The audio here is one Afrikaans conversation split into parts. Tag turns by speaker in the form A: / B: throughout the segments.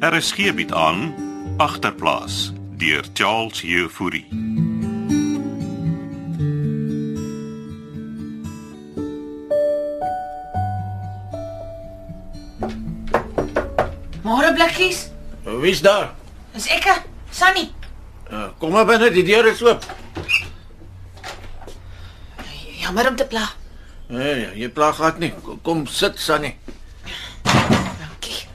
A: Er is geebiet aan agterplaas deur Charles Jefouri.
B: Môre blikkies.
C: Wie's Eh, daar?
B: Dis ekke, eh, Sunny.
C: Uh, kom maar binne, die deur is oop.
B: Jammer om te pla.
C: Nee, nee, jy plaag gehad nie. Kom- Kom sit, Sunny.
B: Dankie.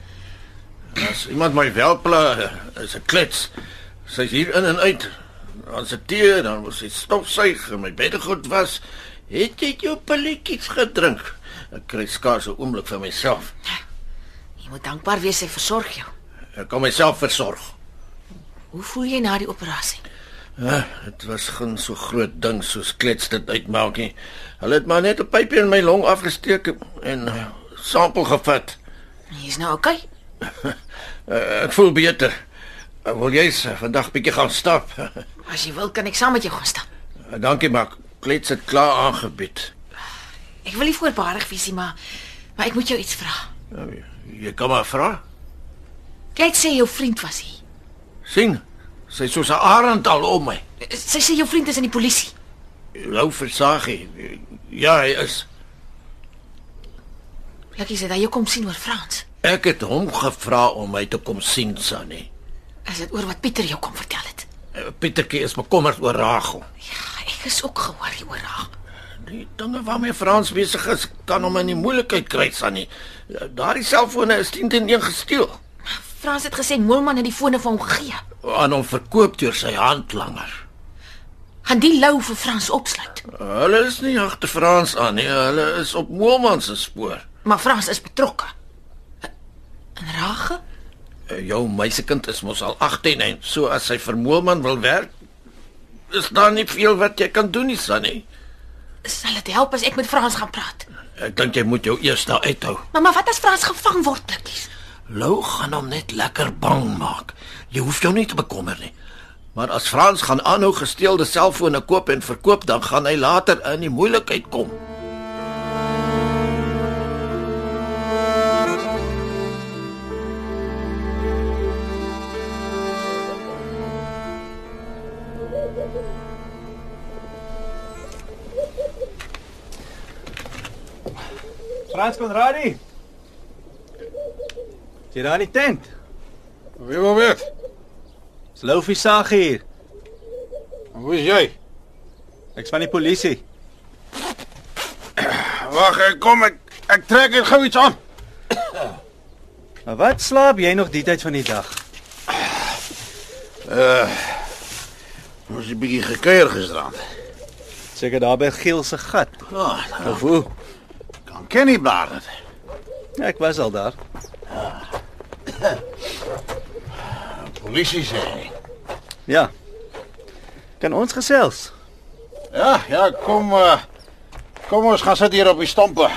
C: As iemand my wel pla, eh, is 'n klets. Sy's hier in en uit. Ons het tee, dan was sy stofsuig en my beddegoed was. Het jy jou pilletjies gedrink? Ek kry skaars 'n oomblik vir myself.
B: Jy moet dankbaar wees sy versorg jou.
C: Ek kan myself versorg.
B: Hoe voel jy na die operasie?
C: Uh, dit was geen so groot ding soos klets dit uitmaak nie. Hulle het maar net 'n pypie in my long afgesteek en eh, sampel gevat.
B: Jy's nou okay?
C: Uh, ek voel beter. Uh, wil jy s- vandag bietjie gaan stap?
B: As jy wil kan ek saam met jou gaan stap.
C: Uh, Dankie maar. Klets het klaar aangebied.
B: Ek wil nie voorbarig wees nie, maar maar ek moet jou iets vra.
C: Uh, jy kan maar vra.
B: Kyk sê jou vriend was hier.
C: sien. Sy is soos 'n arend al om my.
B: Sy sê jou vriend is in die polisie.
C: Lou versagie. Ja, hy is.
B: Blikkies het hy jou kom sien oor Frans.
C: Ek het hom gevra om my te kom sien, Sannie.
B: Is dit oor wat Pieter jou kom vertel het?
C: Uh, Pietertjie is bekommerd oor Ragel.
B: Ja, ek is ook gehoor hier oor haar.
C: Die dinge waarmee Frans besig is, kan hom in die moeilikheid kry, Sannie. Uh, Daardie selfone is 10 teen 1 gesteel.
B: Frans het gesê Moelman het die fone vir hom gegee.
C: Aan hom verkoop deur sy handlanger.
B: Gaan die lou vir Frans opsluit.
C: Hulle is nie agter Frans aan nie, hulle is op Moelman se spoor.
B: Maar Frans is betrokke. En Rage?
C: Eh, Jou meisiekind is mos al 18 en so as sy vir Moelman wil werk, is daar nie veel wat jy kan doen nie, Sunny.
B: Sal dit help as ek met Frans gaan praat?
C: Ek dink jy moet jou eers daar uithou.
B: Mamma, wat as Frans gevang word, blikkies?
C: Lou gaan hom net lekker bang maak. Jy hoef jou nie te bekommer nie. Maar as Frans gaan aanhou gesteelde selfone koop en verkoop, dan gaan hy later in die moeilikheid kom.
D: Frans Konradi. Jy daar in die tent.
E: Wie wil weet?
D: Dis Loufie Sag hier.
E: Hoe is jy?
D: Ek's van die polisie.
E: Wag, ek eh, kom ek ek trek net gou iets aan.
D: Maar wat slaap jy nog die tyd van die dag?
E: Ons het 'n bietjie gekuier gisterand.
D: Seker daar by Giel se gat.
C: Ah,
E: Ja, nou,
D: Of hoe?
E: kan ken nie blaar dit.
D: Ja, ek was al daar.
E: Polisie sê. hy.
D: Ja. Kan ons gesels?
E: Ja, ja, kom uh, kom ons gaan sit hier op die stampe.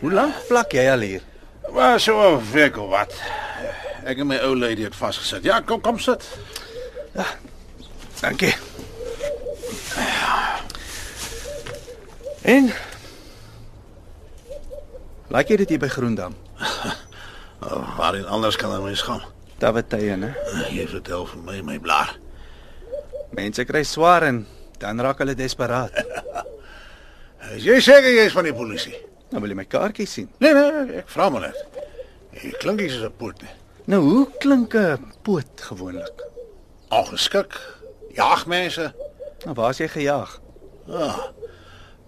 D: Hoe lank plak jy al hier?
E: Maar so 'n week of wat. Ek en my ou lady het vasgesit. Ja, kom kom sit.
D: Dankie. Ja. En Laat jy dit hier by Groendam?
E: Oh, waarin anders kan 'n mens gaan?
D: Dawe tye, né?
C: Eh,
E: Jy vertel vir my my blaar.
D: Mense kry swaar en dan raak hulle desperaat.
E: Is jy seker jy is van die polisie?
D: Nou wil jy my kaartjie sien.
E: Nee nee, ek vra maar net. Jy klink nie soos 'n poot nie.
D: Nou hoe klink 'n poot gewoonlik?
E: Ongeskik. Jaag mense.
D: Nou waar's jy gejaag?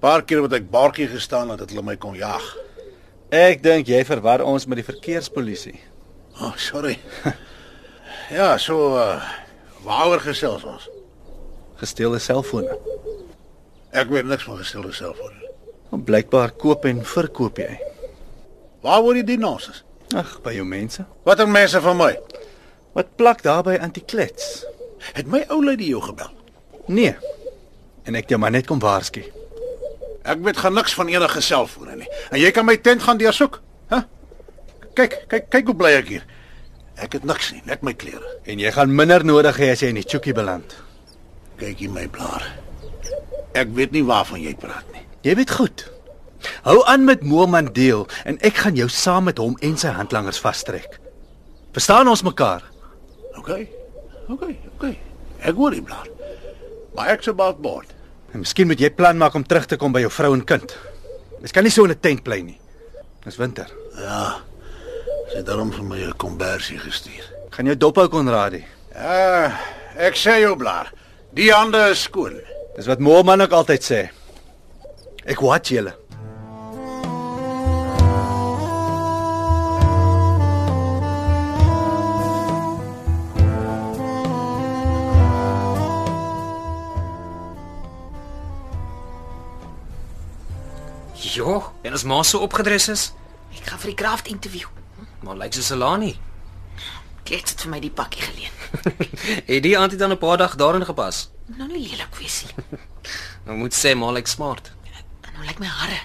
E: Paar keer wat ek baartjie gestaan het dat hulle my kon jag.
D: Ek dink jy verwar ons met die verkeerspolisie.
E: Oh, sorry. ja, so uh, waaroor gesels ons?
D: Gesteelde selfone.
E: Ek weet niks van gestelde selfoon. nie.
D: Want Nou, blykbaar koop en verkoop jy.
E: Waar word die dinosous?
D: Ag, by jou mense.
E: Watter mense van my?
D: Wat plak daarby antiklets?
E: Het my ou lady jou gebel?
D: Nee. En ek het jou maar net kom waarsku.
E: Ek weet gaan niks van enige selfone nie. En jy kan my tent gaan deursoek, hè? Kyk, kyk, kyk hoe bly ek hier. Ek het niks nie, net my klere.
D: En jy gaan minder nodig hê as jy in die chookie beland.
E: Kyk hier my blaar. Ek weet nie waarvan jy praat nie.
D: Jy weet goed. Hou aan met Moomandeel en ek gaan jou saam met hom en sy handlangers vastrek. Verstaan ons mekaar?
E: OK. OK, OK. Ek hoor die blaar. Maar ek se baat bord.
D: En miskien moet jy plan maak om terug te kom by jou vrou en kind. Mens kan nie so in 'n tent bly nie. Dis winter.
E: Sy het daarom vir my 'n kombersie gestuur.
D: Gaan jou dop hou Konradi.
E: Ah, ek sê jou blaar. Die hande is skoon.
D: Dis wat mooi man ook altyd sê. Ek watch julle.
F: Jo, en as ma so opgedres is,
B: Ek gaan vir die Kraft interview.
F: maar lyk sy Salani.
B: Klets het vir my die pakkie geleen.
F: Het die antie dan 'n paar dag daarin gepas?
B: Moet Nou nie lelik wees nie.
F: Nou moet sê maar lyk smart.
B: En nou lyk my hare.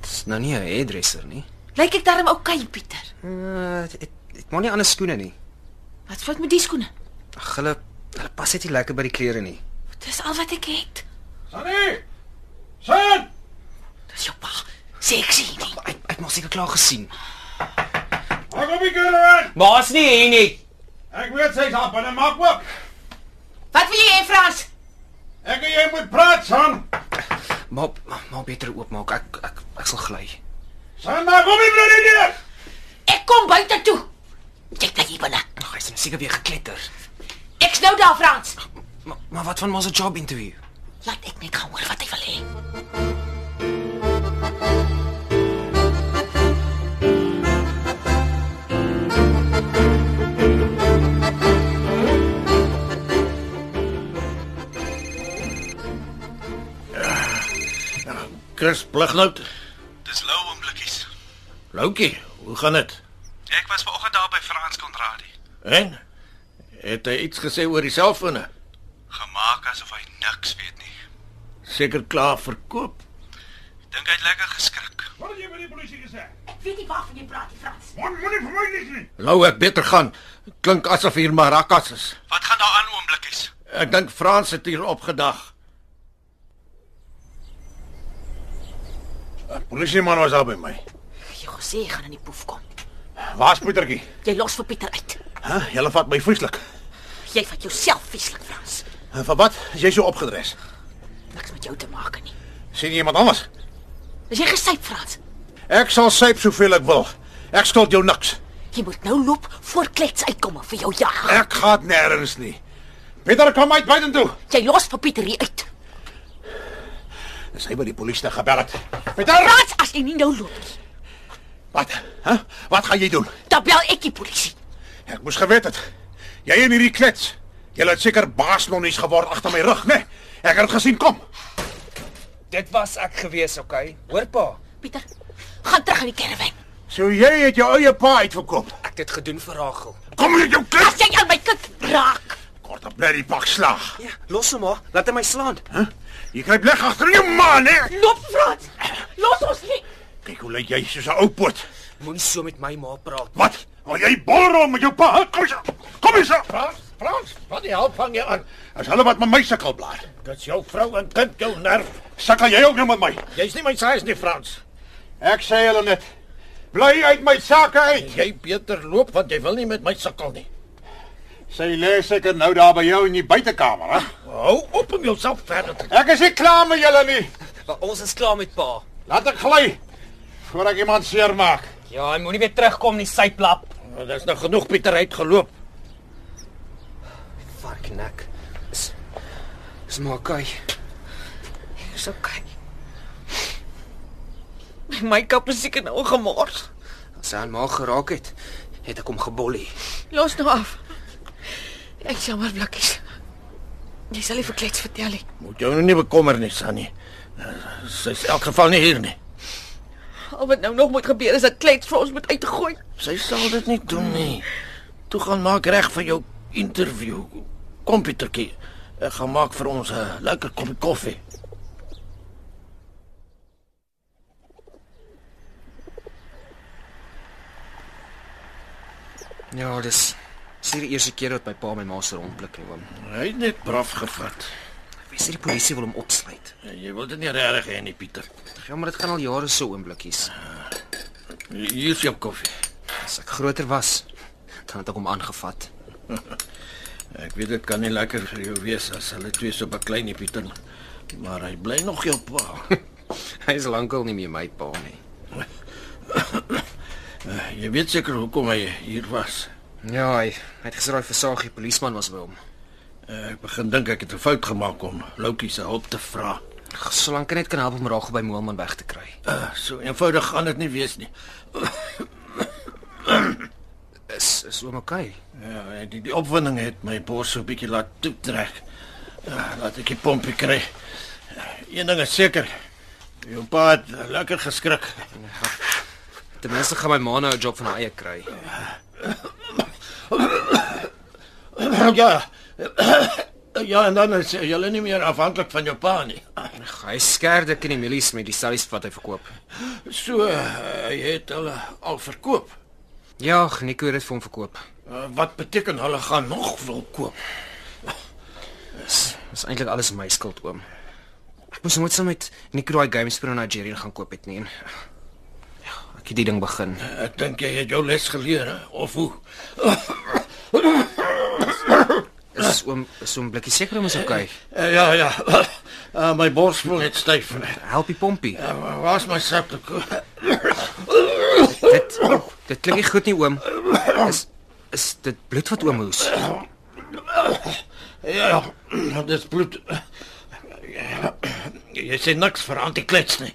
F: Dis nou nie 'n hairdresser nie.
B: Lyk ek darm oukei, okay, Pieter?
F: Uh, het, het, het maar nie ander skoene nie.
B: Wat fout met die skoene?
F: Ag, hulle hulle pas net nie lekker by die klere nie.
B: Dis al wat ek het.
E: Sannie! San!
B: Dis jou pa. Sê ek sien nie.
F: Ek ek moet seker klaar gesien.
E: Waar kom die caravan?
F: Maas nie hier nie.
E: Ek weet sy's op en maak oop.
B: Wat wil jy hê, Frans?
E: Ek en jy moet praat, San.
F: Maar maar beter oopmaak. Ek ek ek sal gly.
E: San, maar kom nie bloed nie.
B: Ek kom buite toe. Kyk net hier binne.
F: Ag, hy's nou seker weer gekletter.
B: Ek's nou daar, Frans.
F: Maar maar wat van ma se job interview?
B: Laat ek net gaan hoor wat hy wil hê.
C: Chris Blighnout,
G: Dis lou oomblikkies.
C: Loukie, hoe gaan dit?
G: Ek was vanoggend daar by Frans Konradi,
C: En het hy iets gesê oor die selfone?
G: gemaak asof hy niks weet nie.
C: Seker klaar verkoop.
G: Dink hy het lekker geskrik.
B: Weet jy waarvan jy praat, Frans?
C: Lou ek beter gaan. Klink asof hier maracas is.
G: Wat gaan daar aan oomblikkies?
C: Ek dink Frans het hier opgedag.
E: Polisieman was daar by my.
B: Jy het gesê jy gaan in die poef kom.
E: Waar's Pietertjie?
B: Jy los vir Pieter uit.
E: Hæ? Huh? Julle vat my vieslik.
B: Jy vat jouself vieslik, Frans.
E: En vir wat? Is jy so opgedres?
B: Niks met jou te maak nie.
E: Sien jy iemand anders?
B: Is jy gesyp, Frans?
E: Ek sal syp soveel ek wil. Ek skuld jou niks.
B: Jy moet nou loop voor klets uitkom en vir jou jag.
E: Ek gaan nêrens nie. Pieter kom uit buitentoe.
B: Jy los vir Pieter hier uit.
E: Dis hy by die polisie te gebel het. Pieter,
B: Frans, as jy nie nou loop nie,
E: wat? Hæ? Wat gaan jy doen?
B: dan bel ek die polisie.
E: Ek moes geweet het. Jy en hierdie klets. Jy het seker baasnonnies geword agter my rug, né? Nee? Ek het dit gesien kom.
F: Dit was ek gewees, okay? Hoor pa,
B: Pieter, gaan terug in die karavaan.
E: So jy het jou eie pa uitverkoop.
F: ek het dit gedoen vir Rachel.
E: Kom met jou klets.
B: As jy aan my kind raak,
E: Kort op bly die pak slaag.
F: Ja, los hom maar. Laat hy my slaan.
E: Jy kruip leg agter jou man, hè?
B: loop Frans. Los ons nie.
E: Kyk hoe lyk jy soos 'n ou poot.
F: Moenie so met my ma praat.
E: Wat? Wil jy bolrom met jou pa? hè? Kom hier. Kom hier. Frans, Frans,
C: Wat die help vang jy aan?
E: as hulle wat met my sukkel blaar.
C: Dis jou vrou en kind jou nerf.
E: Sukkel jy ook nou met my?
C: Jy's nie my size nie, Frans.
E: Ek sê hulle net bly uit my sakke uit.
C: Jy beter loop want jy wil nie met my sukkel nie.
E: Sy lê seker nou daar by jou in die buitekamer, hè?
C: Hou op om jouself verder te
E: Ek is nie klaar met julle nie.
F: Maar ons is klaar met pa.
E: Laat ek gly voor ek iemand seermaak.
F: Ja, hy moenie weer terugkom nie, syplap.
C: Nou, Dis nou genoeg Pieter hy het geloop.
F: Fuck nek. Is is maar okay.
B: Dis okay. My make-up is seker nou gemors.
F: As hy aan ma geraak het, het ek hom gebollie.
B: Los nou af. Ek jammer blikkies. Jy sal nie vir klets vertel nie.
C: Moet jou nou nie bekommer nie, Sannie. Sy's in elk geval nie hier nie.
B: Al wat nou nog moet gebeur is dat klets vir ons moet uitgooi.
C: Sy sal dit nie doen nie. Toe gaan maak reg vir jou interview. Kom Pietertjie. Ek gaan maak vir ons 'n lekker koppie koffie.
F: Ja, dis dis nie die eerste keer dat my pa my ma se rondblik nie, oom.
C: Hy het net braaf gevat.
F: Wie sê die polisie wil hom opsluit?
C: Jy wil dit nie regtig hê nie, Pieter.
F: Ja, maar dit gaan al jare so oomblikkies.
C: Hier is jou koffie.
F: As ek groter was, dan het ek hom aangevat.
C: Ek weet dit kan nie lekker vir jou wees as hulle twee so beklein op die ding. Maar hy bly nog jou pa.
F: Hy is lankal nie meer my pa nie.
C: Eh, Jy weet seker hoekom hy hier was.
F: Ja, hy, hy het gesê daai versagie polisieman was by hom.
C: Eh, Ek begin dink ek het 'n fout gemaak om Loukie se hulp te vra.
F: Ag, Solank kan net kan help om Ragel by Moelman weg te kry.
C: Eh, So eenvoudig gaan dit nie wees nie.
F: Is is oom okay?
C: Ja, en die, die opwinding het my bors so 'n bietjie laat toetrek. Ja, laat ek die pompie kry. Eh, Een ding is seker. Jou pa het lekker geskrik.
F: Ten minste gaan my ma nou 'n job van haar eie kry.
C: Ja. Ja, en dan is jy nie meer afhanklik van jou pa nie.
F: Ag, Hy skerde kan die mielies met die sellies wat hy verkoop.
C: So, eh, hy het hulle al verkoop.
F: Ja, Nico het dit vir hom verkoop.
C: Eh, Wat beteken hulle gaan nog wil koop?
F: Dis is eintlik alles my skuld oom. Ek moes nooit saam met Nico daai game speel in Nigeria gaan koop het nie. en- Ja, ek het die ding begin.
C: Ek dink jy het jou les geleer, hè? of hoe?
F: Is oom is oom blikkie seker om is okay.
C: Eh, Ja, ja. Eh, My bors voel net styf. Eh,
F: Help die pompie.
C: Waar's my Eh, sakdoek?
F: Dit dit klink nie goed nie oom. Is is dit bloed wat oom hoes?
C: Ja, ja, dis bloed. Ja, Jy sê niks vir antiklets nie.